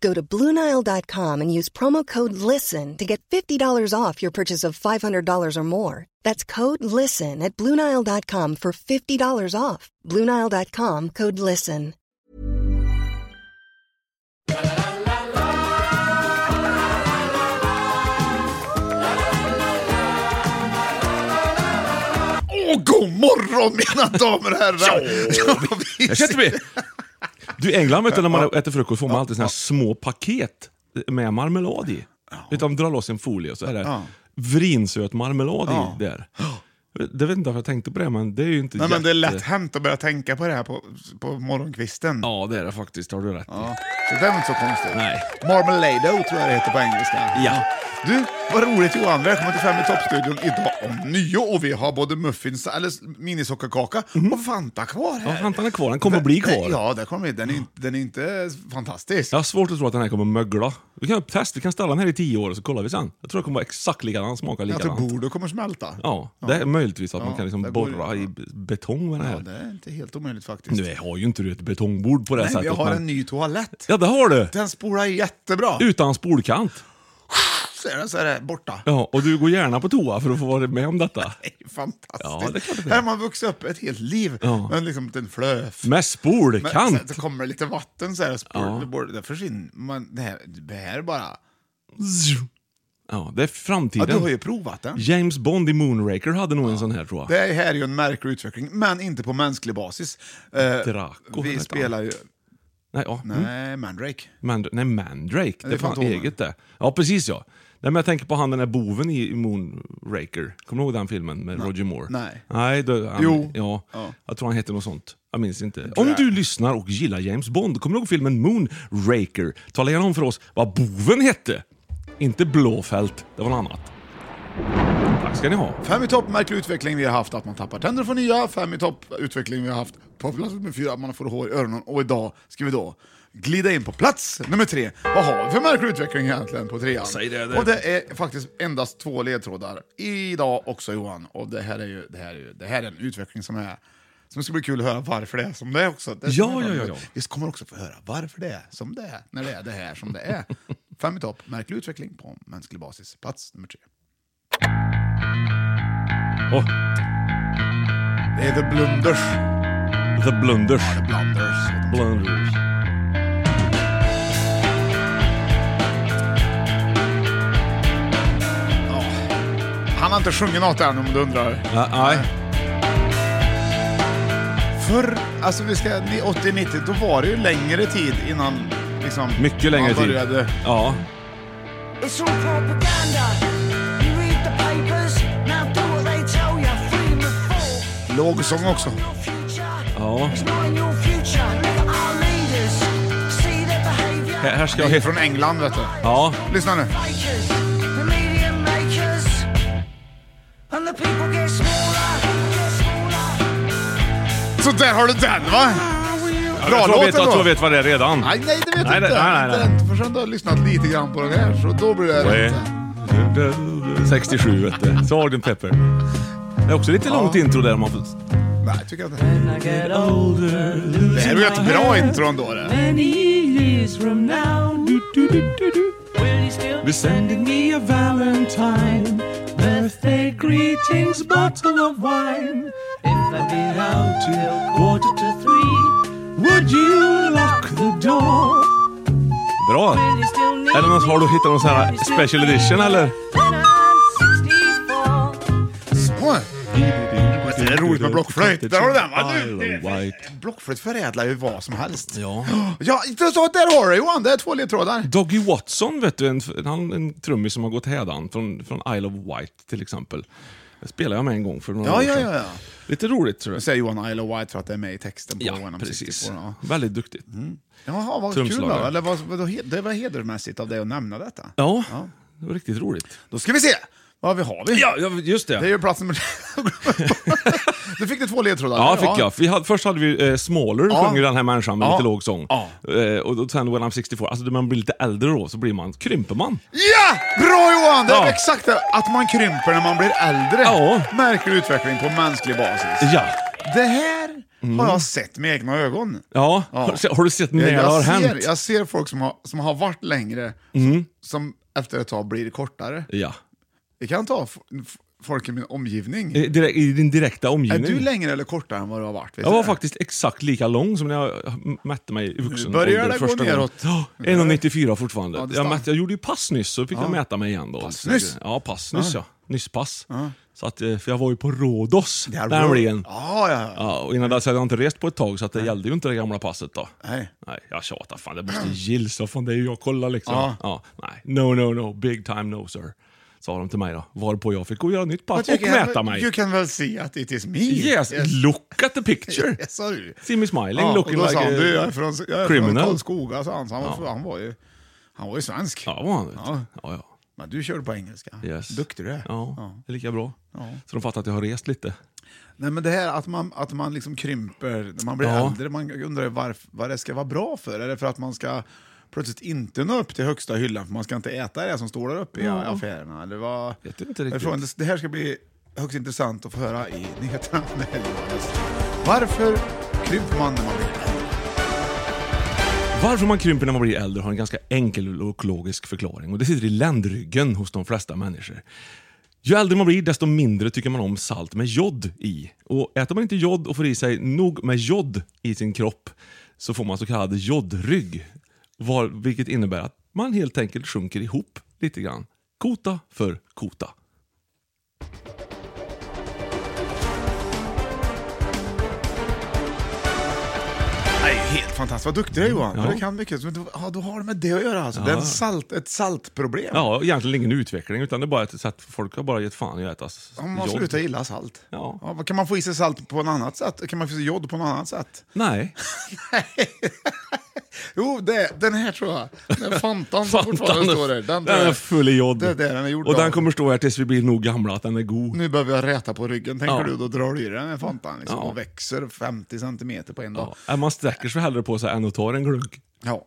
Go to BlueNile.com and use promo code LISTEN to get $50 off your purchase of $500 or more. That's code LISTEN at BlueNile.com for $50 off. BlueNile.com code LISTEN. Och god morgon mina damer och herrar! Ja, vi Jag känner mig. Du, i England vet du, när man Ja. äter frukost får man alltid såna här små paket med marmelad i. Vet du, De drar loss en folie och så är det Ja. vrinsöt marmelad Ja. i där. Det vet inte varför jag tänkte på det, men det är ju inte Nej, men det är jätte- lätt hänt att börja tänka på det här på, på morgonkvisten. Ja, det är det faktiskt. Har du rätt Ja. Så det är väl inte så konstigt. Nej. Marmalado tror jag det heter på engelska. Ja. Du, vad roligt Johan. Välkommen till Fem i toppstudion idag om nio och vi har både muffins, eller minisockerkaka och Fanta kvar här. Mhm. Ja, Fantan är kvar. Den kommer bli kvar. Ja, det kommer bli. Den är, inte- den är inte fantastisk. Jag har svårt att tro att den här kommer mögla. Vi kan testa, vi kan ställa den här i tio år och så kollar vi sen. Jag tror det kommer vara exakt likadan, smaka jag tror likadant. bordet kommer smälta. Ja, det är möjligtvis att man kan det liksom går ju- borra i b- betong med den Ja, här. det är inte helt omöjligt faktiskt. Nu har ju inte du ett betongbord på det Nej, men sättet. jag har men- en ny toalett. Ja, det har du! Den spolar jättebra. Utan spolkant. Så är den så här borta. Ja, och du går gärna på toa för att få vara med om detta. Det är Fantastiskt. Ja, det är klart det är. här har man vuxit upp ett helt liv Ja. med en liksom en flöf. Med Men spolkant! sen så kommer det lite vatten så här, och spår, det borde- det försvinner. Man, det, här, det här bara... Ja, det är Ja, framtiden. du har ju provat den. James Bond i Moonraker hade nog en sån här tror jag. Det här är ju en märklig utveckling, men inte på mänsklig basis. Eh, Draco vi heter spelar ju... Nej, ja. mm. Nej, Mandrake. Mand- nej, Mandrake. Det är fan Fantomen. eget det. Ja, precis ja. Nej, men jag tänker på han den där boven i i Moonraker. Kommer du ihåg den filmen med Roger Moore? Nej. Nej, då, han, Jo. Ja, Ja. Jag tror han hette något sånt. Jag minns inte. Om du lyssnar och gillar James Bond, kommer du ihåg filmen Moonraker? Tala gärna om för oss vad boven hette. Inte Blåfält, det var något annat. Tack ska ni ha. Fem i topp, märklig utveckling vi har haft, att man tappar tänder och får nya. Fem i topp, utveckling vi har haft på plats nummer fyra, att man får hår i öronen. Och idag ska vi då glida in på plats nummer tre. Vad har vi för märklig utveckling egentligen på trean? Säg det, det. Och det är faktiskt endast två ledtrådar idag också Johan. Och det här är ju, det här är ju, det här är en utveckling som är som ska bli kul att höra varför det är som det är också. Det är Ja, som är ja, bra. ja, ja. Vi kommer också få höra varför det är som det är, när det är det här som det är. Fem i topp, märklig utveckling på mänsklig basis, plats nummer tre. Åh, Det är The Blunders. the Blunders. Blunders. Blunders. Han har inte sjungit något än om du undrar. Nej, nej. Förr, alltså vi ska 80-90, då var det ju längre tid innan liksom, Mycket längre man tid. började. Ja. It's all propaganda. You read the papers, now do what they tell you. Freedom of thought. Låg sång också. Your future. Ja. It's not in your future. Look at our leaders. See their behaviour. Här här ska Det jag är hitta... från England vet du. Ja. Lyssna nu. Fakers, the media makers. And the people get smaller, get smaller. Så där har du den va? Bra jag tror jag låt vet, jag tror jag ändå. vet vad det är redan. Nej, nej det vet du Nej, det- inte. nej, nej, nej. Inte förrän du har lyssnat lite grann på den här, så då blir det rätt. 67 vet du. Sgt. Pepper. Det är också lite långt intro där om man får... Nej, tycker jag inte. Det här är ju ett bra intro ändå det. Many years from now, Du, du, du, du. We're sending me a valentine Birthday greetings, bottle of wine If I get out till quarter to three Would you lock the door? Bra! Eller någon, har du hittat någon sån här special edition eller? Oj. Det är roligt med blockflöjt. Där har du den va? Du, Isle of Wight. det- Blockflöjt förädlar ju vad som helst. Ja. Ja, inte så där har du Johan, det är två ledtrådar. Doggy Watson, vet du, en, han, en trummis som har gått hädan från, från Isle of Wight till exempel. Det spelade jag med en gång för några Ja, år ja, sedan. ja. ja. Lite roligt tror Nu jag. säger Johan Isle of Wight för att det är med i texten på Ja, When I'm 64. precis. Ja. Mm, Väldigt duktigt. Jaha, vad kul då. Trumslagare. Eller vad, vad, det var hedermässigt av dig att nämna detta. Ja, det var riktigt roligt. Då ska vi se vad vi har vi. Ja, ja, just det. Det är ju plats nummer... du fick det två ledtrådar. Ja, fick jag. Vi hade, först hade vi eh, Smaller, Ja. sjöng ju den här människan med Ja. lite låg sång. Ja. Eh, och då- sen When I'm 64, alltså när man blir lite äldre då så blir man, krymper man. Ja! Bra Johan! Det är Ja. exakt det. Att man krymper när man blir äldre. Ja. Märker utveckling på mänsklig basis. Ja. Det här har jag sett med egna ögon. Ja, Har, har du sett Mm. när det jag har ser, hänt? Mm. Jag ser folk som har, som har varit längre, som, som efter ett tag blir kortare. Ja. Vi kan ta f- f- folk i min omgivning. Eh, direk- I din direkta Är omgivning. du längre eller kortare än vad du har varit? Vet Jag du var det? faktiskt exakt lika lång som när jag mätte mig i vuxen Nu börjar ålder det gå första gången. neråt. Ja, 1,94 fortfarande. Ja, det jag, stann. mätte, jag gjorde ju pass nyss, så fick jag mäta mig igen då. Pass nyss? Ja, pass nyss ja. Nyss pass. Så att, eh, för jag var ju på Rhodos Det här- nämligen. Ja, ja, ja. Ja, och innan dess hade jag inte rest på ett tag, så att det gällde ju inte det gamla passet då. Nej. Nej, jag tjatar. Fan, det måste gills. Vad Fan, det är ju jag kollar liksom. Ja. Ja. nej. No, no, no. Big time no, sir. Sa de till mig då. Varpå jag fick gå och göra nytt pass You och can- mäta mig. You can well see that it is me. Yes, look at the picture. Yes, sa du. See me smiling, Ja, och looking då like sa han, a du, jag är från, jag är från criminal." Karlskoga, sa han. Så han, var, han, var ju, han var ju svensk. Ja, var han vet du. Ja. Ja, ja. Men du körde på engelska. Yes. Duktig du är. Ja, det är lika bra. Så de fattar att jag har rest lite. Nej, men det här att man, att man liksom krymper när man blir Ja. äldre, man undrar ju varf, vad det ska vara bra för. Är det för att man ska plötsligt inte nå upp till högsta hyllan för man ska inte äta det som står där uppe i affärerna? Eller vad? Vet inte riktigt. Frågan, det, det här ska bli högst intressant att få höra i nyheterna. Nej, det var just- Varför krymper man när man blir äldre? Varför man krymper när man blir äldre har en ganska enkel och logisk förklaring. Och Det sitter i ländryggen hos de flesta människor. Ju äldre man blir, desto mindre tycker man om salt med jod i. Och Äter man inte jod och får i sig nog med jod i sin kropp så får man så kallad jodrygg. Var, vilket innebär att man helt enkelt sjunker ihop lite grann. Kota för kota. Nej, helt fantastiskt. Vad duktig du är Johan. Ja. Du kan mycket. Men då, ja, då har det med det att göra alltså. Ja. Det är en salt, ett saltproblem. Ja, egentligen ingen utveckling utan det är bara ett sätt folk har bara gett fan i att äta s- Om man jod. slutar gilla salt. Ja. vad kan man få i sig salt på något annat sätt? Kan man få i sig jod på något annat sätt? Nej. Jo, det, den här tror jag. Den Fantan som fortfarande står där. den, tror jag- är full i jod. Det är det den är gjord Och av. den kommer stå här tills vi blir nog gamla, att den är god. Nu behöver jag räta på ryggen, tänker Ja. du. Då drar du i den här Fantan liksom, Ja. och växer 50 centimeter på en dag. Ja. äh, Man sträcker sig hellre på sig än att ta en glugg. Ja.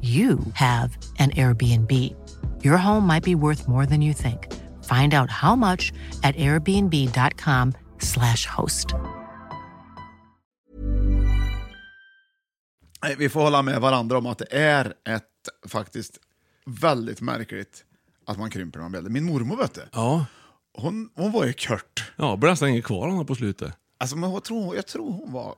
you have an Airbnb. Your home might be worth more than you think. Find out how much at airbnb.com/slash host. Nej, Vi får hålla med varandra om att det är ett faktiskt väldigt märkligt att man krymper när man blir äldre. Min mormor vet du, Ja. hon, hon var ju kört. Ja, det blir nästan inget kvar hon har på slutet. Alltså, men jag, tror, jag tror hon var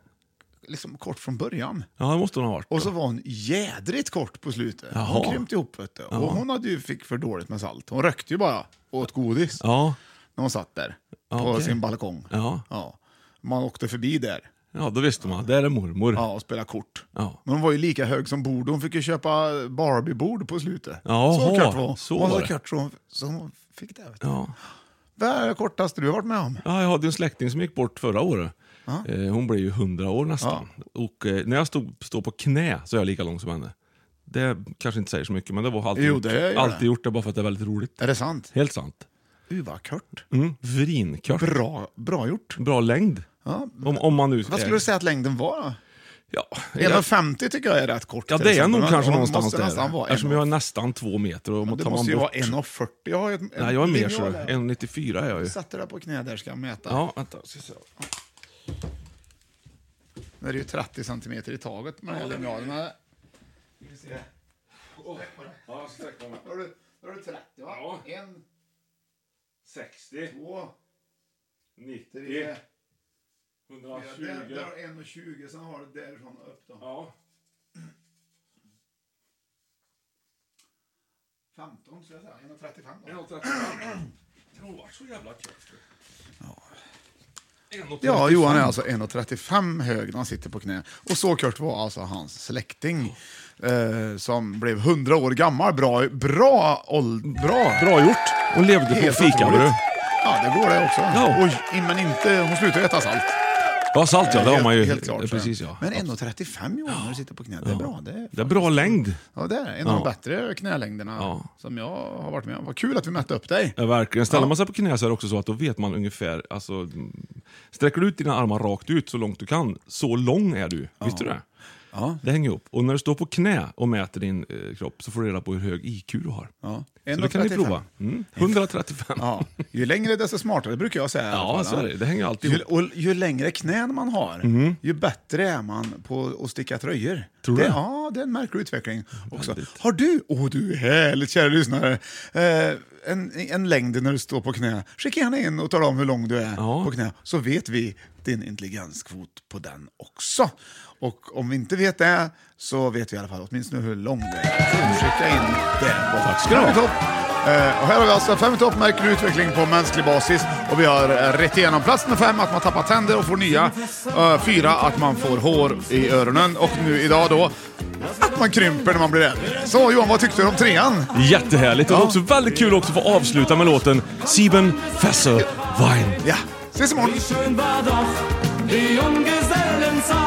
liksom kort från början. Ja, det måste hon ha varit. Och så var hon jädrigt kort på slutet. Jaha. Hon krympte ihop vet du. Och hon hade ju fick för dåligt med salt. Hon rökte ju bara och åt godis Ja, när hon satt där på Okej. sin balkong. ja. Ja. Man åkte förbi där ja, då visste man. Där är mormor. ja, och spelade kort. Ja. Men hon var ju lika hög som bord. Hon fick ju köpa Barbie-bord på slutet. Jaha, så kort var hon. så hon var var det. så kort så hon, så hon fick det. Vet du. Ja. Det här är det kortaste du har varit med om. Ja, jag hade en släkting som gick bort förra året. Eh, Hon blev ju hundra år nästan. Och eh, när jag stod, står på knä så är jag lika lång som henne. Det kanske inte säger så mycket, men det var alltid, Jo, gjort, det gör det. alltid gjort det bara för att det är väldigt roligt. Är det sant? Helt sant. Du var kort. Mm. Vrinkört. Bra, bra gjort. Bra längd. Om, om man nu... Vad skulle du säga att längden var? då? Ja, 1,50 tycker jag är rätt kort. ja, till det är exempel. nog Men kanske hon någonstans måste där. Nästan vara Eftersom en- jag är nästan två meter. Och Men tar det man måste ju bort- vara 1,40. Jag, har ett, Nej, jag är mer så. där. 1,94 är jag ju. Sätt dig där på knä där ska jag mäta. Ja, vänta. ska jag se. Nu är det ju 30 centimeter i taget med den här linjalen. Vi får se. Ja, sträck på mig. Då har du- då har du 30 va? Ja. En, 60, två, 90, tre, fyra. Där, där har du 1,20 sen har du därifrån och upp då. Ja. 15 skulle jag säga. 1,35 då. 1,35. Hon var så jävla kort. Ja. Ja, Johan är alltså 1,35 hög när han sitter på knä. Och så kort var alltså hans släkting eh, som blev 100 år gammal. Bra, bra ålder. Bra. Bra gjort. Hon levde på Helt fikabröd. otroligt. Ja, det går det också. Ja. Oj, men inte, hon slutar äta salt. Ja, salt ja. Det har Helt- man ju. Helt klart, så. Precis ja. Men 1,35 Johan när du sitter på knä, det är bra. Det är, Det är bra längd. ja, det är en av de bättre knälängderna Ja. som jag har varit med om. Vad kul att vi mätte upp dig. Ja, verkligen. Ställer man sig på knä så är det också så att då vet man ungefär, alltså, mm, sträcker du ut dina armar rakt ut så långt du kan, så lång är du. Visste du det? Ja. Det hänger ihop. Och när du står på knä och mäter din eh, kropp så får du reda på hur hög IQ du har. Ja. Så det kan ni 1,35. prova. Mm. 135. Ja. Ju längre desto smartare brukar jag säga. i alla Ja, fall, så är det. Det hänger alltid Ju, ihop. Mm. och ju längre knän man har, ju bättre är man på att sticka tröjor. Tror du det, det? Ja, det är en märklig utveckling också. Väldigt. Har du, åh oh, du härligt kära lyssnare, eh, en, en längd när du står på knä, skicka gärna in och tala om hur lång du är Ja. på knä, så vet vi din intelligenskvot på den också. Och om vi inte vet det, så vet vi i alla fall åtminstone hur lång du är. Skicka in det. Tack ska du ha. Fem i topp. Eh, och här har vi alltså fem i topp märker du utveckling på mänsklig basis. Och vi har eh, rätt igenom. Plats nummer fem att man tappar tänder och får nya. Eh, fyra att man får hår i öronen. Och nu idag då att man krymper när man blir äldre. Så Johan, vad tyckte du om trean? Jättehärligt. Och det är också väldigt kul också att få avsluta med låten Sieben Fässer Wein. Ja, ses imorgon. schön war doch die Junggesellenzeit.